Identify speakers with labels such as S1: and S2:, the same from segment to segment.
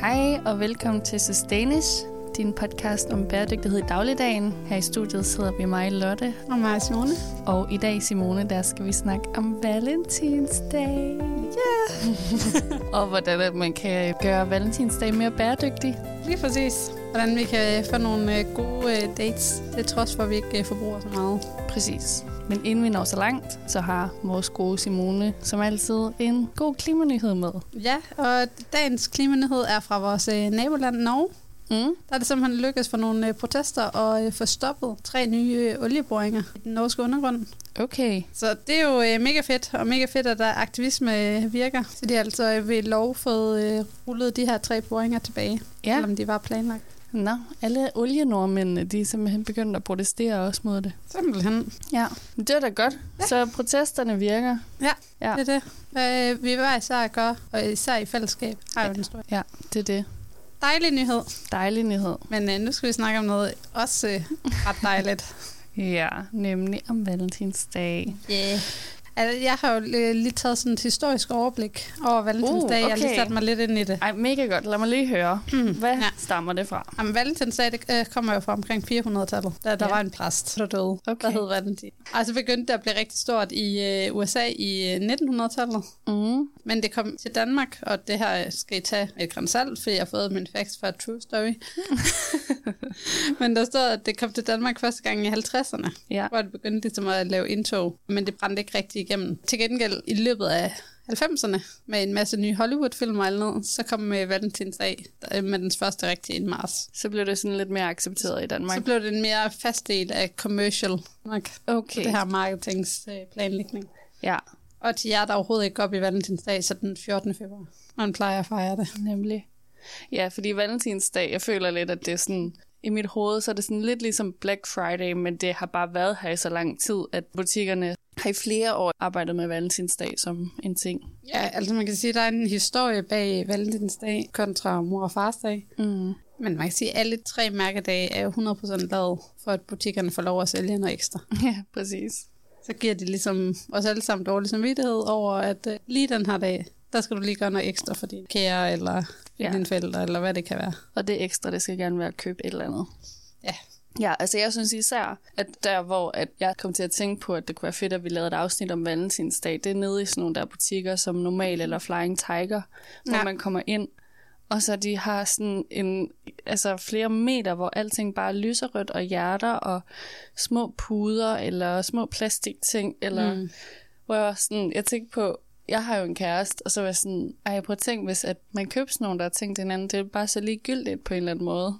S1: Hej og velkommen til Sustainish, din podcast om bæredygtighed i dagligdagen. Her i studiet sidder vi mig, Lotte,
S2: Og mig og Simone.
S1: og i dag, Simone, der skal vi snakke om Valentinsdag. Yeah! og hvordan at man kan gøre Valentinsdag mere bæredygtig.
S2: Lige præcis. Hvordan vi kan få nogle øh, gode øh, dates, det trods for, at vi ikke øh, forbruger så meget.
S1: Præcis. Men inden vi når så langt, så har vores gode Simone som altid en god klimanyhed med.
S2: Ja, og dagens klimanyhed er fra vores øh, naboland Norge.
S1: Mm.
S2: Der er det simpelthen lykkedes for nogle øh, protester at øh, få stoppet tre nye øh, olieboringer i den norske undergrund.
S1: Okay.
S2: Så det er jo øh, mega fedt, og mega fedt, at der aktivisme øh, virker. Så de har altså øh, ved lov fået øh, rullet de her tre boringer tilbage, ja.
S1: Ja,
S2: selvom de var planlagt.
S1: nå, alle olienormændene, de er simpelthen begyndt at protestere også mod det.
S2: Simpelthen.
S1: Ja, men det er da godt. Ja.
S2: Ja.
S1: Så protesterne virker. Ja.
S2: Ja. Det er det. Øh, vi hver især gør, og især i fællesskab, har jo en stor
S1: Ja, det er det.
S2: dejlig nyhed.
S1: Dejlig nyhed.
S2: Men øh, nu skal vi snakke om noget også øh, ret dejligt.
S1: Ja, nemlig om Valentinsdag.
S2: yeah. Altså, jeg har jo øh, lige taget sådan et historisk overblik over Valentinsdag.
S1: Uh,
S2: Jeg har
S1: okay.
S2: lige sat mig lidt ind i det.
S1: Ej, mega godt. Lad mig lige høre. Hvad ja.
S2: Ja.
S1: stammer det fra?
S2: Jamen, Valentinsdag det, øh, kommer jo fra omkring 400-tallet, da der
S1: Ja.
S2: var en præst, der døde.
S1: Okay.
S2: Der hed Valentin. Og så begyndte det at blive rigtig stort i øh, USA i øh, 1900-tallet.
S1: Mm.
S2: Men det kom til Danmark, og det her øh, skal I tage med et gran salt, fordi jeg har fået min facts fra True Story. Men der stod, at det kom til Danmark første gang i 50'erne.
S1: Ja.
S2: hvor det begyndte ligesom at lave indtog, men det brændte ikke rigtig igennem. Til gengæld i løbet af 90'erne med en masse nye Hollywood-film og alt noget, så kom med Valentinsdag øh, med dens første rigtige i marts.
S1: Så blev det sådan lidt mere accepteret i Danmark.
S2: Så blev det en mere fast del af commercial nok,
S1: Okay.
S2: det her marketingsplanlægning.
S1: Ja,
S2: Og til jer, der overhovedet ikke går op i Valentinsdag, så den 14. februar. Man plejer at fejre det.
S1: nemlig. Ja, fordi Valentinsdag, jeg føler lidt, at det er sådan... I mit hoved, så er det sådan lidt ligesom Black Friday, men det har bare været her i så lang tid, at butikkerne har i flere år arbejdet med Valentinsdag som en ting.
S2: Ja, altså man kan sige, at der er en historie bag Valentinsdag kontra mor og farsdag.
S1: Mm.
S2: Men man kan sige, at alle tre mærkedage er jo 100% lavet for, at butikkerne får lov at sælge noget ekstra.
S1: Ja, præcis.
S2: så giver det ligesom os alle sammen dårlig samvittighed over, at øh, lige den her dag, der skal du lige gøre noget ekstra for din kære, eller
S1: Ja.
S2: ja. dine forældre, eller hvad det kan være.
S1: Og det ekstra, det skal gerne være at købe et eller andet.
S2: Ja.
S1: Ja, altså jeg synes især, at der hvor at jeg kom til at tænke på, at det kunne være fedt, at vi lavede et afsnit om Valentinsdag, det er nede i sådan nogle der butikker som Normal eller Flying Tiger, hvor ja.
S2: Ja.
S1: man kommer ind, og så de har sådan en, altså flere meter, hvor alting bare er lyserødt og hjerter og små puder eller små plastikting, eller mm. hvor jeg var sådan, jeg tænkte på, jeg har jo en kæreste, og så var jeg sådan, ej, prøv at tænke, hvis at man købte sådan nogle, der har tænkt hinanden, det er bare så ligegyldigt på en eller anden måde.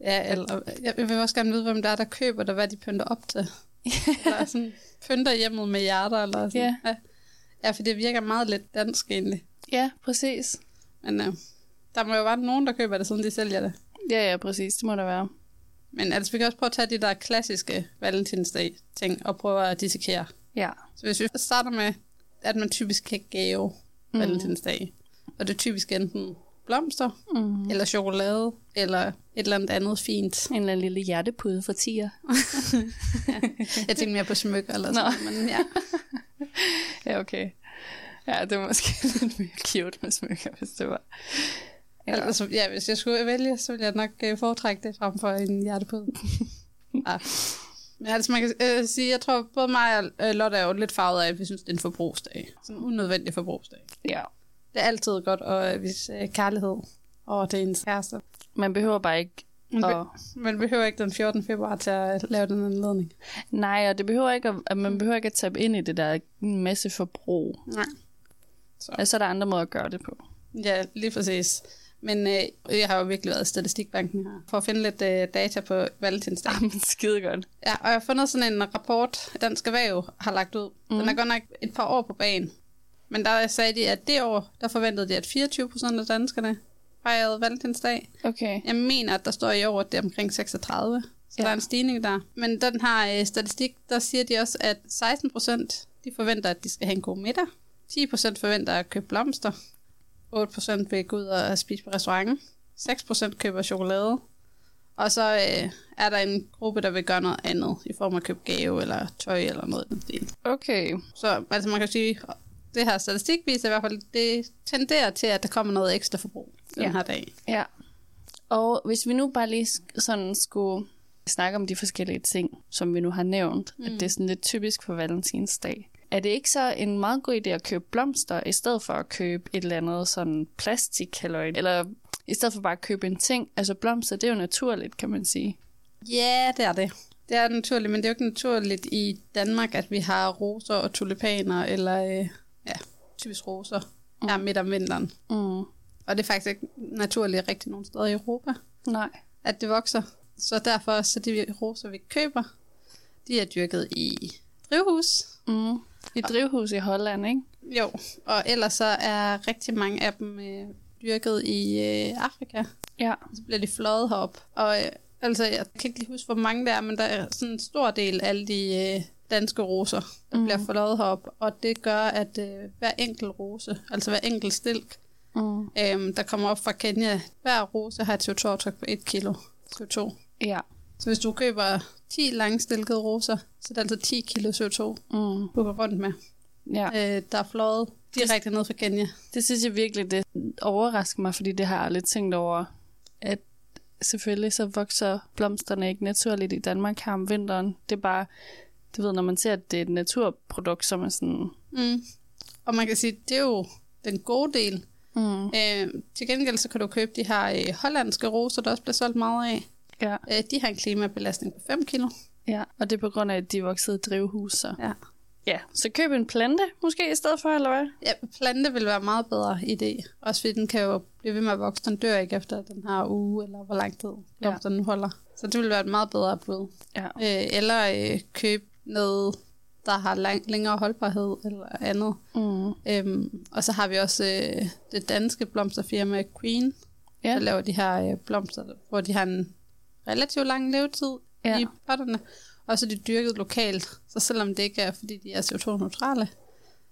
S2: Ja, eller, jeg vil også gerne vide, hvem der er, der køber det, og hvad de pynter op til. Eller sådan, pynter hjemmet med hjerter, eller sådan.
S1: Ja.
S2: Ja. ja, for det virker meget lidt dansk egentlig.
S1: Ja, præcis.
S2: Men øh, der må jo være nogen, der køber det, siden de sælger det.
S1: Ja, ja, præcis. Det må der være.
S2: Men altså, vi kan også prøve at tage de der klassiske valentinsdag-ting og prøve at dissekere.
S1: Ja.
S2: Så hvis vi starter med, at man typisk kan gave mm. valentinsdag, og det er typisk enten blomster,
S1: Mm.
S2: mm. eller chokolade, eller et eller andet andet fint.
S1: En eller anden lille hjertepude for tiger.
S2: Jeg tænkte mere på smykker eller
S1: Nå.
S2: sådan men ja.
S1: Ja, okay. Ja, det var måske lidt mere cute med smykker, hvis det var.
S2: Ja. Altså, ja, hvis jeg skulle vælge, så ville jeg nok øh, foretrække det frem for en hjertepude. ja. Men altså, man kan øh, sige, jeg tror både mig og øh, Lotte er jo lidt farvet af, at vi synes, det er en forbrugsdag. Sådan en unødvendig forbrugsdag.
S1: Ja.
S2: Det er altid godt at øh, vise øh, kærlighed over til ens kæreste.
S1: Man behøver bare ikke
S2: Man, be-
S1: at...
S2: man behøver ikke den 14. februar til at øh, lave den anledning.
S1: Nej, og det behøver ikke at, at man behøver ikke at tabe ind i det der masse forbrug.
S2: Nej.
S1: Altså, så er der andre måder at gøre det på.
S2: Ja, lige præcis. Men øh, jeg har jo virkelig været i statistikbanken her, for at finde lidt øh, data på valentinsdag.
S1: Jamen, skide godt.
S2: Ja, og jeg har fundet sådan en rapport, Dansk Erhverv har lagt ud. Mm. Den er godt nok et par år på banen. Men der sagde de, at det år, der forventede de, at 24 procent af danskerne fejrede valentinsdag.
S1: Okay.
S2: Jeg mener, at der står i år, at det er omkring 36. Så
S1: Ja.
S2: ja. der er en stigning der. Men den her øh, statistik, der siger de også, at 16 procent de forventer, at de skal have en god middag. 10 procent forventer at købe blomster. 8 procent vil gå ud og spise på restaurant. 6 procent køber chokolade. Og så øh, er der en gruppe, der vil gøre noget andet, i form af at købe gave eller tøj eller noget i den stil.
S1: Okay.
S2: Så altså, man kan sige, det her statistik viser i hvert fald, det tenderer til, at der kommer noget ekstra forbrug. den
S1: Ja.
S2: her dag.
S1: Ja. Og hvis vi nu bare lige sk- sådan skulle snakke om de forskellige ting, som vi nu har nævnt, mm. at det er sådan lidt typisk for valentinsdag. Er det ikke så en meget god idé at købe blomster, i stedet for at købe et eller andet sådan plastik eller i stedet for bare at købe en ting? Altså blomster, det er jo naturligt, kan man sige.
S2: Ja, det er det. Det er naturligt, men det er jo ikke naturligt i Danmark, at vi har roser og tulipaner, eller øh, ja, typisk roser, mm. er midt om vinteren.
S1: Mm.
S2: Og det er faktisk ikke naturligt rigtig nogen steder i Europa,
S1: Nej.
S2: at det vokser. Så derfor, så de roser, vi køber, de er dyrket i drivhus.
S1: Mm. I drivhus i Holland, ikke?
S2: Jo, og ellers så er rigtig mange af dem øh, dyrket i øh, Afrika.
S1: Ja.
S2: Så bliver de fløjet herop. Og øh, altså, jeg kan ikke lige huske, hvor mange der er, men der er sådan en stor del af alle de øh, danske roser, der mm. bliver fløjet herop. Og det gør, at øh, hver enkelt rose, altså hver enkelt stilk,
S1: Mm.
S2: øh, der kommer op fra Kenya, hver rose har et CO2-aftryk på 1 kilo CO2.
S1: Ja.
S2: Så hvis du køber 10 langstilkede roser, så er det altså 10 kilo CO2,
S1: Mm.
S2: du går rundt med,
S1: ja.
S2: øh, der er fløjet direkte ned fra Kenya.
S1: Det synes jeg virkelig, det overrasker mig, fordi det har jeg aldrig tænkt over, at selvfølgelig så vokser blomsterne ikke naturligt i Danmark her om vinteren. Det er bare, du ved, når man ser, at det er et naturprodukt, som er sådan...
S2: Mm. Og man kan sige, det er jo den gode del.
S1: Mm,
S2: Øh, til gengæld så kan du købe de her øh, hollandske roser, der også bliver solgt meget af.
S1: ja,
S2: Øh, de har en klimabelastning på 5 kilo.
S1: ja, og det er på grund af, at de voksede i drivhus. Så.
S2: Ja.
S1: Ja, så køb en plante måske i stedet for, eller hvad?
S2: ja, plante vil være meget bedre idé. Også fordi den kan jo blive ved med at vokse. Den dør ikke efter den her uge, eller hvor lang tid ja. den nu holder. Så det vil være et meget bedre bud.
S1: Ja.
S2: Øh, eller øh, købe noget, der har lang, længere holdbarhed eller andet.
S1: Mm.
S2: Øhm, og så har vi også øh, det danske blomsterfirma Queen,
S1: Ja.
S2: ja. der laver de her øh, blomster, hvor de har en relativt lang levetid
S1: Ja.
S2: ja. i potterne. Og så er de dyrket lokalt, så selvom det ikke er, fordi de er CO2-neutrale,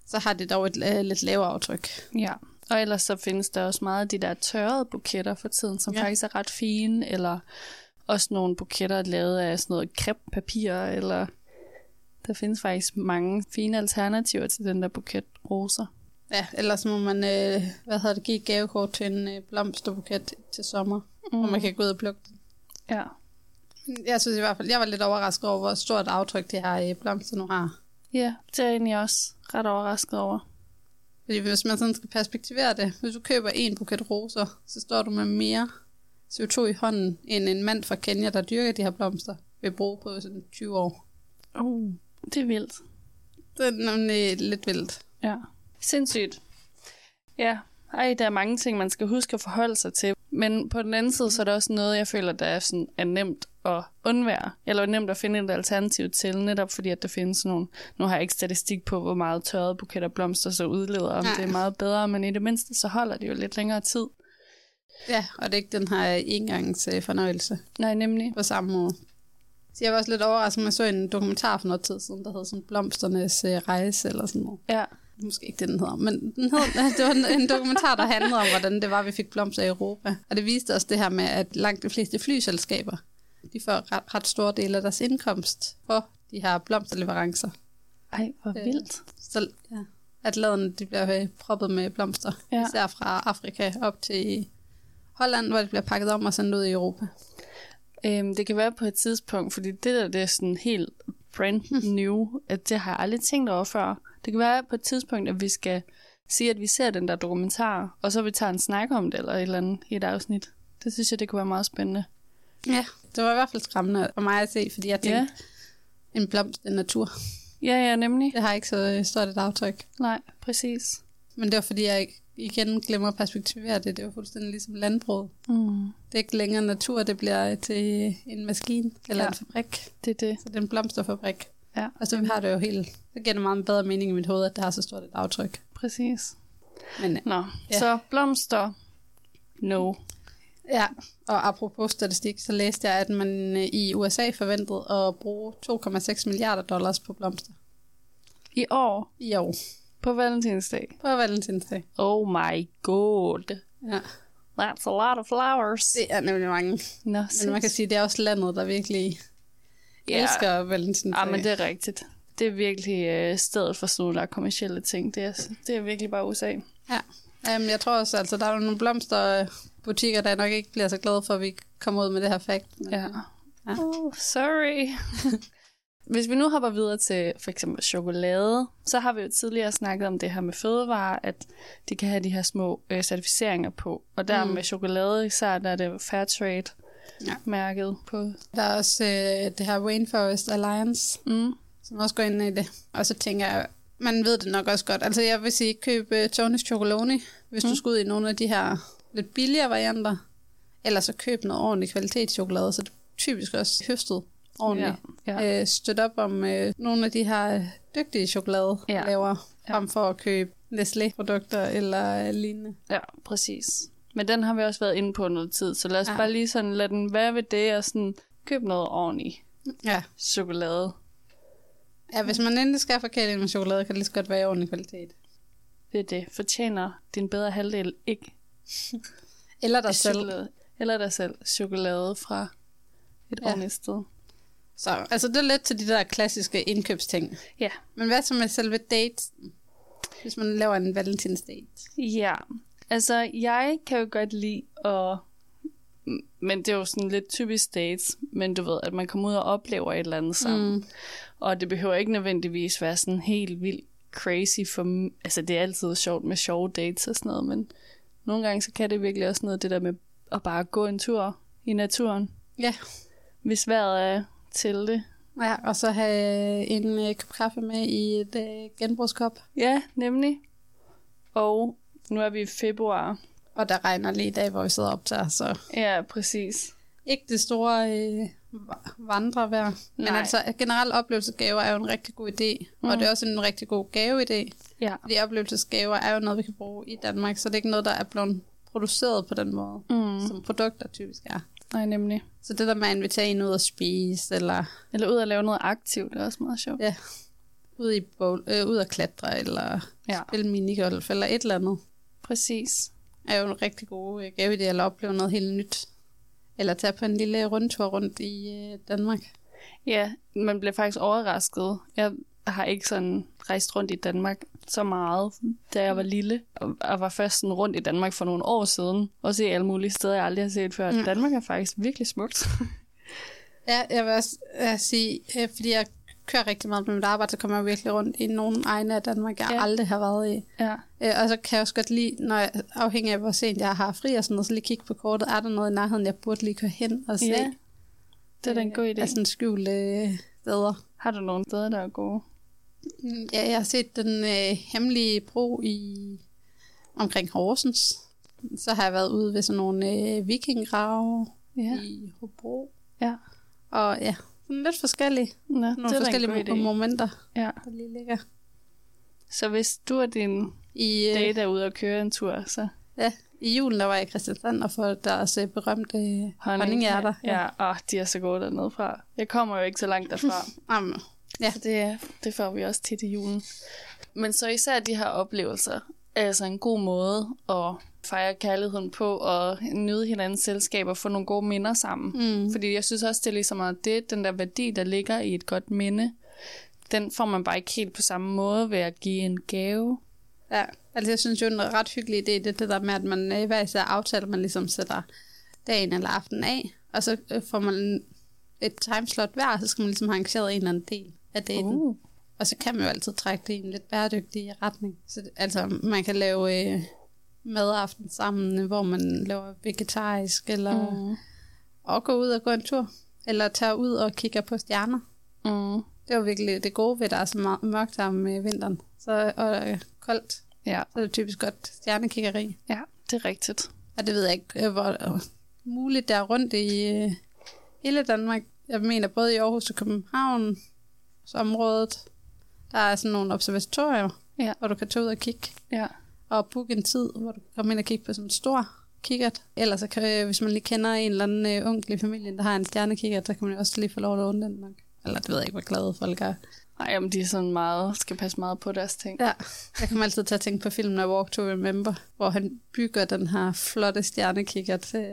S2: så har det dog et øh, lidt lavere aftryk.
S1: Ja, og ellers så findes der også meget af de der tørrede buketter for tiden, som ja.
S2: Ja.
S1: faktisk er ret fine, eller også nogle buketter lavet af sådan noget kreppapir, eller der findes faktisk mange fine alternativer til den der buket roser.
S2: Ja, ellers må man, øh, hvad hedder det, give et gavekort til en øh, blomsterbuket til sommer, mm. hvor man kan gå ud og plukke den.
S1: Ja,
S2: Jeg synes i hvert fald, jeg var lidt overrasket over, hvor stort aftryk det her øh, blomster nu har.
S1: ja det er jeg egentlig også ret overrasket over.
S2: Fordi hvis man sådan skal perspektivere det, hvis du køber en buket roser, så står du med mere CO2 i hånden, end en mand fra Kenya, der dyrker de her blomster, vil bruge på sådan 20 år.
S1: Uh, det er vildt.
S2: Det er nemlig lidt vildt.
S1: Ja. Sindssygt. Ja. Ej, der er mange ting, man skal huske at forholde sig til. Men på den anden side, så er der også noget, jeg føler, der er, sådan, er nemt at undvære. Eller nemt at finde et alternativ til, netop fordi, at der findes sådan nogle... Nu har jeg ikke statistik på, hvor meget tørrede buketter blomster så udleder, om
S2: Nej.
S1: det er meget bedre. Men i det mindste, så holder det jo lidt længere tid.
S2: Ja, og det er ikke den her engangs øh, fornøjelse
S1: Nej, nemlig.
S2: på samme måde. Så jeg var også lidt overrasket, når jeg så en dokumentar for noget tid siden, der hed sådan Blomsternes øh, rejse eller sådan noget.
S1: Ja.
S2: Det er Måske ikke det, den hedder, men den hed, det var en, en dokumentar, der handlede om, hvordan det var, vi fik blomster i Europa. Og det viste os det her med, at langt de fleste flyselskaber, de får ret, ret store dele af deres indkomst for de her blomsterleverancer.
S1: Ej, hvor
S2: Øh,
S1: vildt.
S2: Så ja, at laden de bliver øh, proppet med blomster,
S1: Ja.
S2: ja. især fra Afrika op til Holland, hvor det bliver pakket om og sendt ud i Europa.
S1: Øhm, det kan være på et tidspunkt, fordi det der det er sådan helt brand new, at det har jeg aldrig tænkt over før. Det kan være på et tidspunkt, at vi skal sige, at vi ser den der dokumentar, og så vi tager en snak om det, eller et eller andet i et afsnit. Det synes jeg, det kunne være meget spændende.
S2: Ja, det var i hvert fald skræmmende for mig at se, fordi jeg tænkte,
S1: Ja.
S2: ja. en blomst er natur.
S1: Ja, ja, nemlig.
S2: Det har ikke så øh, stort et aftryk.
S1: Nej, præcis.
S2: Men det var fordi, jeg igen glemmer at perspektivere det. Det var fuldstændig ligesom landbruget.
S1: Mm,
S2: Det er ikke længere natur, det bliver til en maskine eller
S1: Ja.
S2: ja. en fabrik.
S1: det er det.
S2: Så det er en blomsterfabrik.
S1: Ja,
S2: Og så har det jo helt... Så giver det meget bedre mening i mit hoved, at det har så stort et aftryk.
S1: præcis.
S2: Men øh,
S1: Nå, ja.
S2: Ja.
S1: så blomster. No.
S2: ja, og apropos statistik, så læste jeg, at man øh, i USA forventede at bruge 2,6 milliarder dollars på blomster
S1: I år
S2: i år
S1: på valentinsdag.
S2: på valentinsdag.
S1: Oh my god.
S2: Ja,
S1: That's a lot of flowers.
S2: det er nemlig mange.
S1: Nå,
S2: Men man kan sige, at det er også landet, der virkelig yeah. elsker valentinsdag.
S1: Ja, Ah, men det er rigtigt. Det er virkelig øh, stedet for sådan nogle der er kommersielle ting. Det er, det er virkelig bare USA.
S2: Ja, um, jeg tror også, altså, der er jo nogle blomster, butikker, der nok ikke bliver så glade for, at vi kommer ud med det her fakt. Men,
S1: Ja.
S2: Ja.
S1: Oh, sorry. Hvis vi nu hopper videre til for eksempel chokolade, så har vi jo tidligere snakket om det her med fødevarer, at de kan have de her små øh, certificeringer på. Og der mm.
S2: Mm.
S1: med chokolade især, der er det
S2: Ja.
S1: Fairtrade-mærket på.
S2: Der er også øh, det her Rainforest Alliance,
S1: Mm.
S2: som også går ind i det. Og så tænker jeg, man ved det nok også godt. Altså jeg vil sige, køb øh, Tony's Chocolonely, hvis mm.
S1: Mm.
S2: du skulle ud i nogle af de her lidt billigere varianter. Eller så køb noget ordentlig kvalitetschokolade, så det er typisk også høstet ordentligt.
S1: Ja. Ja.
S2: ja. øh, støtte op om øh, nogle af de her øh, dygtige chokoladelaver,
S1: Ja.
S2: ja. frem for at købe Nestlé-produkter eller øh, lignende.
S1: Ja, præcis. Men den har vi også været inde på noget tid, så lad os ja.
S2: Ja.
S1: bare lige sådan lade den være ved det, og sådan køb noget ordentligt
S2: Ja.
S1: chokolade.
S2: ja, hvis man endelig skal forkæle med chokolade, kan det lige så godt være i ordentlig kvalitet.
S1: Det er det. Fortjener din bedre halvdel ikke
S2: Eller dig selv.
S1: chokolade. Eller dig selv chokolade fra et ja.
S2: Ja.
S1: ordentligt sted.
S2: Så, altså det er lidt til de der klassiske indkøbsting.
S1: Ja.
S2: Men hvad så med selve date? Hvis man laver en valentins date.
S1: Ja. Altså, jeg kan jo godt lide at... m- Men det er jo sådan lidt typisk dates, men du ved, at man kommer ud og oplever et eller andet sammen. Mm. Og det behøver ikke nødvendigvis være sådan helt vildt crazy for... Altså, det er altid sjovt med sjove dates og sådan noget, men nogle gange så kan det virkelig også noget det der med at bare gå en tur i naturen,
S2: Ja.
S1: hvis vejret er til det.
S2: ja og så have en øh, kop kaffe med i et øh, genbrugskop.
S1: Ja, nemlig. Og nu er vi i februar.
S2: Og der regner lige i dag, hvor vi sidder op til, så
S1: Ja, præcis.
S2: ikke det store øh, va- vandrevejr. Men
S1: Nej.
S2: altså generelt oplevelsesgaver er jo en rigtig god idé, mm. og det er også en rigtig god gaveidé.
S1: Ja.
S2: Fordi oplevelsesgaver er jo noget, vi kan bruge i Danmark, så det er ikke noget, der er blevet produceret på den måde,
S1: Mm.
S2: som produkter typisk er.
S1: Nej, nemlig.
S2: Så det der med at invitere en ud og spise, eller
S1: Eller ud og lave noget aktivt, det er også meget sjovt.
S2: ja, ud, i bowl, øh, ud og klatre, eller
S1: Ja.
S2: ja. spille minigolf, eller et eller andet,
S1: Præcis.
S2: er jo en rigtig god øh, gaveidé, eller opleve noget helt nyt. Eller tage på en lille rundtur rundt i øh, Danmark.
S1: Ja, man bliver faktisk overrasket. Jeg har ikke sådan rejst rundt i Danmark så meget, da jeg var lille, og, og var først sådan rundt i Danmark for nogle år siden, og se alle mulige steder, jeg aldrig har set før. Mm. Danmark er faktisk virkelig smukt.
S2: Ja, jeg vil også øh, sige, øh, fordi jeg kører rigtig meget med mit arbejde, så kommer jeg virkelig rundt i nogle egne af Danmark, jeg
S1: Ja.
S2: ja. aldrig har været i.
S1: ja.
S2: Øh, og så kan jeg også godt lide, når jeg, afhængig af hvor sent jeg har fri og sådan noget, så lige kigge på kortet, er der noget i nærheden, jeg burde lige køre hen og se?
S1: ja. Det er da en god idé.
S2: Øh, af sådan skjulte øh, steder.
S1: Altså, Har du nogle steder, der er gode?
S2: Mm, Ja, jeg har set den øh, hemmelige bro i omkring Horsens. Så har jeg været ude ved sådan nogle øh, vikinggrave ja. i Hobro.
S1: Ja.
S2: Og ja, sådan lidt forskellige.
S1: Nå, det er
S2: Nogle
S1: da en
S2: forskellige
S1: god idé.
S2: mo- momenter,
S1: Ja.
S2: der lige ligger.
S1: Så hvis du og din
S2: I, øh,
S1: date er ude og køre en tur, så
S2: ja, I julen, der var jeg i Christiansand og få deres øh, berømte øh, honninghjerter.
S1: Ja, ja. Oh, de er så gode dernede fra. Jeg kommer jo ikke så langt derfra.
S2: Jamen, Ja.
S1: Så det, det får vi også tit i julen. Men så især de her oplevelser er altså en god måde at fejre kærligheden på og nyde hinandens selskab og få nogle gode minder sammen. Mm. Fordi jeg synes også, det er ligesom at det, den der værdi, der ligger i et godt minde, den får man bare ikke helt på samme måde ved at give en gave.
S2: Ja, altså jeg synes jo, en ret hyggelig idé, det er det der med, at man øh, hver især aftaler, man ligesom sætter dagen eller aftenen af, og så øh, får man et timeslot hver, og så skal man ligesom have arrangeret en eller anden del af daten. Uh.
S1: Uh.
S2: Og så kan man jo altid trække det i en lidt bæredygtig retning. Så det, altså, man kan lave øh, madaften sammen, øh, hvor man laver vegetarisk, eller mm. og gå ud og gå en tur, eller tage ud og kigge på stjerner.
S1: Mm.
S2: Det var virkelig det gode ved, at der er så meget mørkt her om øh, vinteren, så, og øh, koldt.
S1: Ja.
S2: Så er det typisk godt stjernekiggeri.
S1: ja, det er rigtigt.
S2: Og det ved jeg ikke, øh, hvor øh, muligt der er rundt i øh, hele Danmark. Jeg mener både i Aarhus og København så området. Der er sådan nogle observatorier,
S1: Ja.
S2: hvor du kan tage ud og kigge.
S1: Ja.
S2: Og booke en tid, hvor du kan komme ind og kigge på sådan en stor kikkert. Ellers, så kan, øh, hvis man lige kender en eller anden øh, onkel i familien, der har en stjernekikkert, så kan man jo også lige få lov at låne den nok. Eller det ved jeg ikke, hvor glade folk er.
S1: Ej, om de er sådan meget, skal passe meget på deres ting.
S2: Ja, jeg kommer altid til at tænke på filmen A Walk to Remember, hvor han bygger den her flotte stjernekikker til,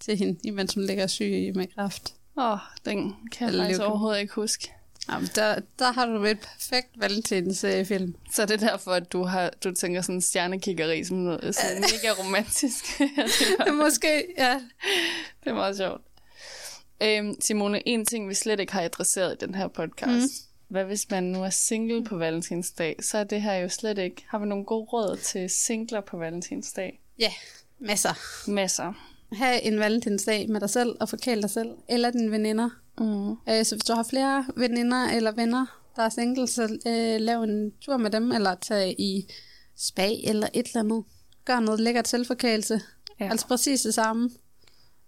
S2: til hende, imens hun ligger syg i med kræft.
S1: Åh, oh, den kan jeg
S2: Eller
S1: faktisk
S2: leukæmi.
S1: overhovedet ikke huske.
S2: Jamen, der, der har du et perfekt valentinsfilm.
S1: Så det er derfor, at du, har, du tænker sådan stjernekiggeri som noget øh, sådan mega romantisk. det, var,
S2: Måske, ja.
S1: det er meget sjovt. Øhm, Simone, en ting, vi slet ikke har adresseret i den her podcast. Mm. Hvad hvis man nu er single på valentinsdag, så er det her jo slet ikke... Har vi nogle gode råd til singler på valentinsdag?
S2: Ja, masser.
S1: Masser.
S2: Ha' en valentinsdag med dig selv og forkæl dig selv, eller dine veninder.
S1: Mm.
S2: Øh, så hvis du har flere veninder eller venner, der er single, så øh, lav en tur med dem, eller tag i spa eller et eller andet. Gør noget lækkert selvforkælelse.
S1: Ja.
S2: Ja. Altså præcis det samme.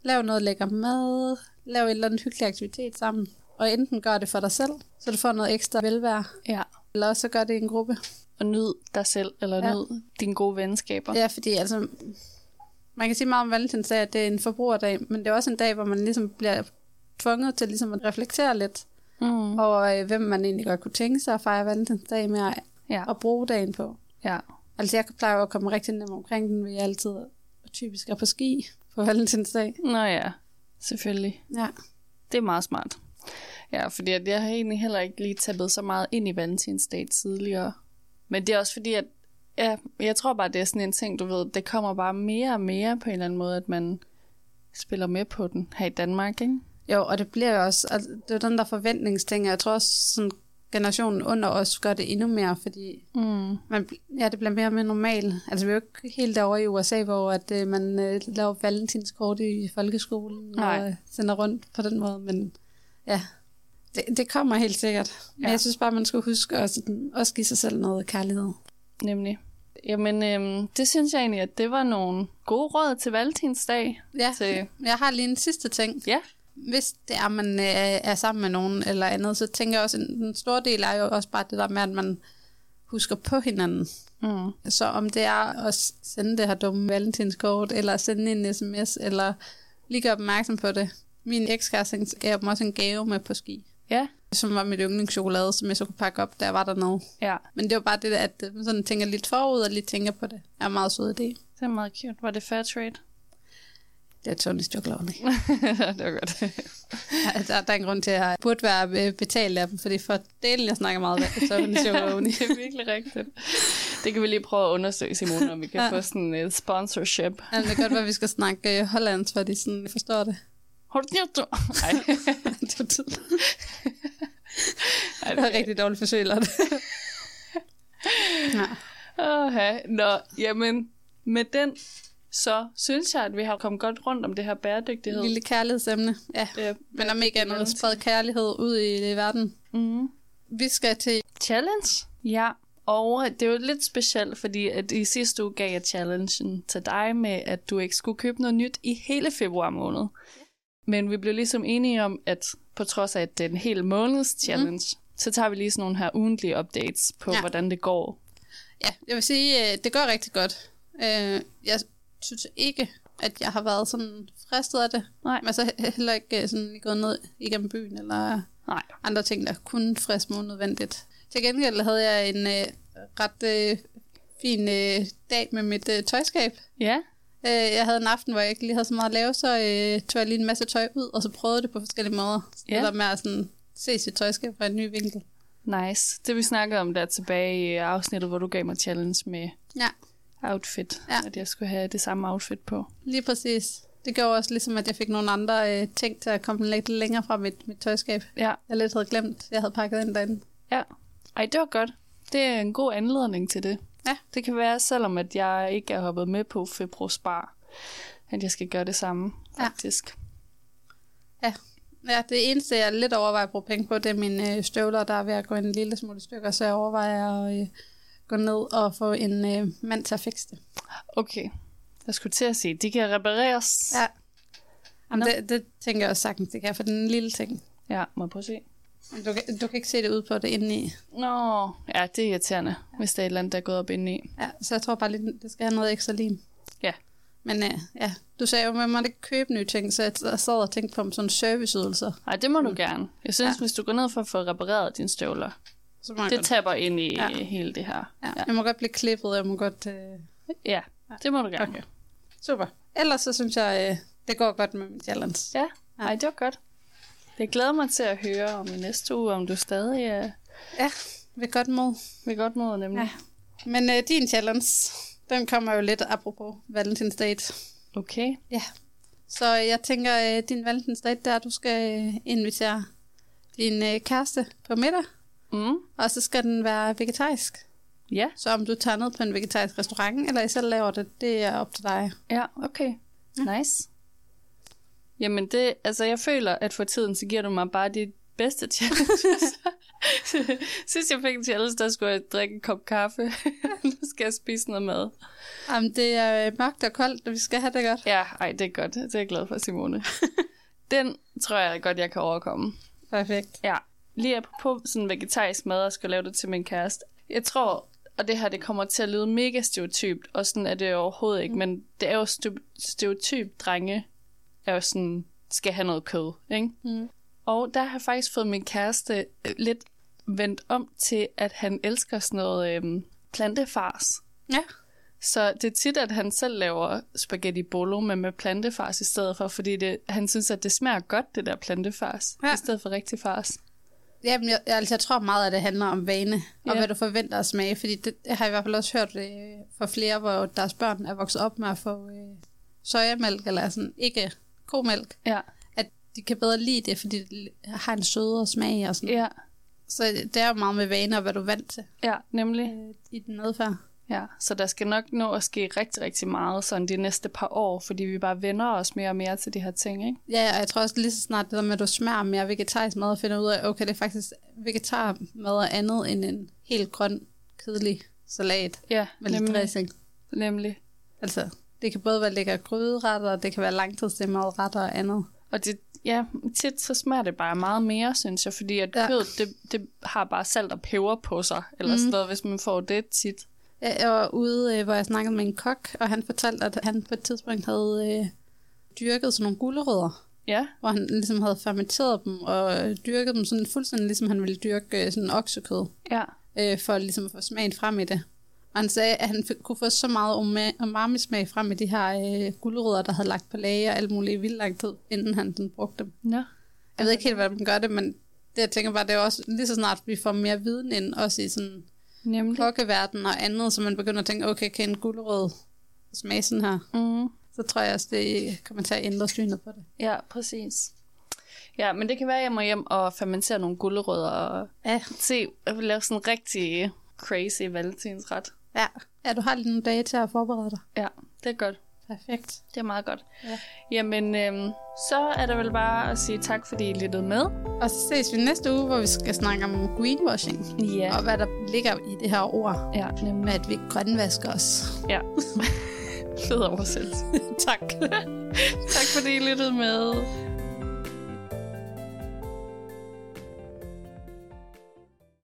S2: Lav noget lækker mad, lav en eller anden hyggelig aktivitet sammen. Og enten gør det for dig selv, så du får noget ekstra velvære,
S1: Ja.
S2: eller også så gør det i en gruppe.
S1: Og nyd dig selv, eller ja.
S2: Ja.
S1: nyd dine gode venskaber.
S2: Ja, fordi altså, man kan sige meget om valentinsdag, at det er en forbrugerdag, men det er også en dag, hvor man ligesom bliver tvunget til ligesom at reflektere lidt
S1: Mm.
S2: over, øh, hvem man egentlig godt kunne tænke sig at fejre valentinsdag med at-
S1: Ja.
S2: at bruge dagen på.
S1: ja.
S2: Altså, jeg plejer jo at komme rigtig nemt omkring den, ved jeg altid typisk er på ski på valentinsdag.
S1: Nå ja, selvfølgelig.
S2: Ja.
S1: Det er meget smart. Ja, fordi at jeg har egentlig heller ikke lige tappet så meget ind i valentinsdag tidligere. Men det er også fordi, at ja, jeg tror bare, det er sådan en ting, du ved, det kommer bare mere og mere på en eller anden måde, at man spiller med på den her i Danmark, ikke?
S2: Jo, og det bliver jo også, altså, det er jo den der forventningsting, og jeg tror også, sådan, generationen under os gør det endnu mere, fordi
S1: Mm.
S2: man, bl- ja, det bliver mere og mere normalt. Altså, vi er jo ikke helt derovre i USA, hvor at, øh, man øh, laver valentinskort i folkeskolen
S1: Nej.
S2: og øh, sender rundt på den måde, men ja, det, det kommer helt sikkert. Men
S1: Ja.
S2: ja. jeg synes bare, man skulle huske at sådan, også give sig selv noget kærlighed.
S1: Nemlig. Jamen, øhm, det synes jeg egentlig, at det var nogle gode råd til valentinsdag.
S2: Ja,
S1: Til,
S2: jeg har lige en sidste ting.
S1: ja,
S2: Hvis det er, man øh, er sammen med nogen eller andet, så tænker jeg også, en, en stor del er jo også bare det der med, at man husker på hinanden.
S1: mm.
S2: Så om det er at sende det her dumme valentinskort, eller sende en sms, eller lige gøre opmærksom på det. Min ekskæreste gav mig også en gave med på ski,
S1: ja,
S2: som var mit yndlingschokolade, som jeg så kunne pakke op, da jeg var dernede.
S1: ja.
S2: Men det var bare det, der, at man sådan tænker lidt forud og lidt tænker på det. er en meget sød idé.
S1: Det er meget cute. Var det fair trade?
S2: Det er Tony's chokolade.
S1: det var godt.
S2: Ja, der, der er en grund til, at jeg burde være øh, betalt af dem, fordi for delen, jeg snakker meget af, så er den chokolade.
S1: det er virkelig rigtigt. Det kan vi lige prøve at undersøge, Simone, om vi kan
S2: Ja.
S1: få sådan et sponsorship.
S2: Ja, men det kan godt være, at vi skal snakke øh, hollandsk, fordi sådan, jeg forstår det.
S1: Har du gjort det? Nej,
S2: det var tydeligt.
S1: Ej,
S2: Det var et rigtig dårligt forsøg, Lotte. Nej.
S1: Åha. Nå, jamen, med den, så synes jeg, at vi har kommet godt rundt om det her bæredygtighed.
S2: Lille kærlighedsemne. Ja.
S1: Ja.
S2: Men om ikke andet, spred kærlighed ud i øh, verden.
S1: Mm.
S2: Vi skal til...
S1: Challenge? Ja. Og det er jo lidt specielt, fordi at i sidste uge gav jeg challengen til dig med, at du ikke skulle købe noget nyt i hele februar måned. Men vi blev ligesom enige om, at på trods af, at det er en hel måneds challenge, mm. så tager vi lige sådan nogle her ugentlige updates på, ja.
S2: Ja.
S1: hvordan det går.
S2: Ja, jeg vil sige, øh, det går rigtig godt. Øh, Jeg synes ikke, at jeg har været sådan fristet af det.
S1: Nej.
S2: Men så he- heller ikke øh, sådan gået ned igennem byen, eller
S1: Nej.
S2: andre ting, der kunne friske mig unødvendigt. Til gengæld havde jeg en øh, ret øh, fin øh, dag med mit øh, tøjskab.
S1: Ja.
S2: Øh, jeg havde en aften, hvor jeg ikke lige havde så meget at lave, så øh, tog jeg lige en masse tøj ud, og så prøvede det på forskellige måder. Så
S1: Ja.
S2: Det der med at sådan, se sit tøjskab fra en ny vinkel.
S1: Nice. Det vi snakkede om der tilbage i afsnittet, hvor du gav mig challenge med
S2: Ja,
S1: outfit.
S2: Ja.
S1: At jeg skulle have det samme outfit på.
S2: lige præcis. Det gjorde også ligesom, at jeg fik nogle andre øh, ting til at komme lidt længere fra mit, mit tøjskab.
S1: Ja.
S2: Jeg lidt havde glemt, jeg havde pakket ind derinde.
S1: Ja. Ej, det var godt. Det er en god anledning til det.
S2: Ja.
S1: Det kan være, selvom at jeg ikke er hoppet med på Febro Spar, at jeg skal gøre det samme,
S2: Ja.
S1: faktisk.
S2: Ja. ja, det eneste, jeg lidt overvejer at bruge penge på, det er mine øh, støvler, der er ved at gå en lille smule i stykker, så jeg overvejer at øh, gå ned og få en øh, mand til at fikse det.
S1: Okay. Jeg skulle til at sige, de kan repareres.
S2: Ja. Jamen,
S1: Nå.
S2: det, det tænker jeg også sagtens, det kan, for den lille ting.
S1: ja må jeg prøve at se?
S2: Men Du kan, du kan ikke se det ud på det indeni.
S1: Nå, ja, det er irriterende, hvis der er et eller andet, der er gået op indeni.
S2: Ja, så jeg tror bare lidt, det skal have noget ekstra lim.
S1: Ja.
S2: Men øh, ja, du sagde jo, at man måtte ikke købe nye ting, så jeg t- jeg sad og tænkte på om sådan serviceydelser.
S1: Ej, det må du gerne. Jeg synes, ja.
S2: Mm. Ja.
S1: hvis du går ned for at få repareret dine støvler,
S2: Så må jeg
S1: det
S2: godt,
S1: tapper ind i ja.
S2: Ja.
S1: hele det her.
S2: ja, jeg må godt blive klippet, jeg må godt... Øh,
S1: Ja, det må du gerne. Okay.
S2: super. Ellers så synes jeg, øh, det går godt med min challenge.
S1: Ja, Ej, det var godt. Jeg glæder mig til at høre om i næste uge, om du stadig er
S2: Ja, ved godt mod.
S1: ved godt mod, nemlig.
S2: Ja. Men øh, din challenge, den kommer jo lidt apropos Valentine's Date.
S1: Okay.
S2: Ja. Så jeg tænker, øh, din Valentine's Date, der du skal øh, invitere din øh, kæreste på middag,
S1: Mm.
S2: og så skal den være vegetarisk.
S1: Ja.
S2: Så om du tager ned på en vegetarisk restaurant, eller I selv laver det, det er op til dig.
S1: Ja, okay. Nice. Jamen det, altså jeg føler, at for tiden, så giver du mig bare de bedste challenges. Sidst jeg fik en challenge, der skulle jeg drikke en kop kaffe. nu skal jeg spise noget mad.
S2: Jamen, det er øh, mørkt og koldt, og vi skal have det godt.
S1: Ja, ej, det er godt. Det er jeg glad for, Simone. Den tror jeg godt, jeg kan overkomme.
S2: Perfekt.
S1: Ja, lige på sådan vegetarisk mad og skulle lave det til min kæreste. Jeg tror, og det her det kommer til at lyde mega stereotypt, og sådan er det overhovedet ikke, men det er jo stu- stereotypt, drenge er jo sådan, skal have noget kød, ikke?
S2: Mm.
S1: Og der har jeg faktisk fået min kæreste øh, lidt vendt om til, at han elsker sådan noget øhm, plantefars.
S2: Ja.
S1: Så det er tit, at han selv laver spaghetti bolo, men med plantefars i stedet for, fordi det, han synes, at det smager godt, det der plantefars, ja.
S2: Ja.
S1: i stedet for rigtig fars.
S2: Jamen, jeg, jeg- altså, jeg tror meget, at det handler om vane, og
S1: Ja.
S2: hvad du forventer at smage, fordi det jeg har jeg i hvert fald også hørt øh, fra flere, hvor deres børn er vokset op med at få øh, sojamælk, eller sådan ikke komælk,
S1: Ja.
S2: at de kan bedre lide det, fordi det har en sødere smag og sådan.
S1: Ja,
S2: Så det er jo meget med vaner, og hvad du er vant til
S1: ja, nemlig.
S2: øh, i din adfærd.
S1: Ja, så der skal nok nå at ske rigtig, rigtig meget sådan de næste par år, fordi vi bare vender os mere og mere til de her ting, ikke?
S2: Ja, og jeg tror også lige så snart det der med, at du smager mere vegetarisk mad og finder ud af, okay, det er faktisk vegetarmad og andet end en helt grøn, kedelig salat
S1: Ja,
S2: med lidt
S1: nemlig.
S2: dressing.
S1: nemlig.
S2: Altså, det kan både være lækre gryderetter, og det kan være langtidsstemmede retter og andet.
S1: Og det, ja, tit så smager det bare meget mere, synes jeg, fordi at ja.
S2: Ja.
S1: kød, det, det har bare salt og peber på sig, eller mm. sådan noget, hvis man får det tit.
S2: Jeg jeg var ude, øh, hvor jeg snakkede med en kok, og han fortalte, at han på et tidspunkt havde øh, dyrket sådan nogle gulerødder,
S1: Ja,
S2: hvor han ligesom havde fermenteret dem og øh, dyrket dem sådan fuldstændig, ligesom han ville dyrke øh, sådan oksekød.
S1: ja,
S2: øh, for ligesom at få smagen frem i det. Og han sagde, at han fik- kunne få så meget uma- umami-smag frem i de her øh, gulerødder, der havde lagt på lager og alt muligt i vildt lang tid, inden han den brugte dem.
S1: nå.
S2: Jeg ved ikke helt, hvordan man gør det, men det jeg tænker bare, det er også lige så snart, vi får mere viden ind, også i sådan
S1: Nemlig.
S2: kokkeverdenen og andet, så man begynder at tænke, okay, kan en gulerød smage sådan her?
S1: Mm.
S2: Så tror jeg også, det kommer til at ændre synet på det.
S1: Ja, præcis. Ja, men det kan være, at jeg må hjem og fermentere nogle gulerødder og
S2: Ja,
S1: se, lave sådan en rigtig crazy valentinsret.
S2: ja. ja du har lige nogle dage til at forberede dig.
S1: Ja, det er godt.
S2: Perfekt.
S1: Det er meget godt.
S2: Ja.
S1: Jamen, øhm, så er der vel bare at sige tak, fordi I lyttede med.
S2: Og så ses vi næste uge, hvor vi skal snakke om greenwashing.
S1: Ja.
S2: og hvad der ligger i det her ord
S1: Ja, nemlig.
S2: med, at vi grønvasker os.
S1: Ja. Fed oversættelse.
S2: tak.
S1: tak fordi I lyttede med.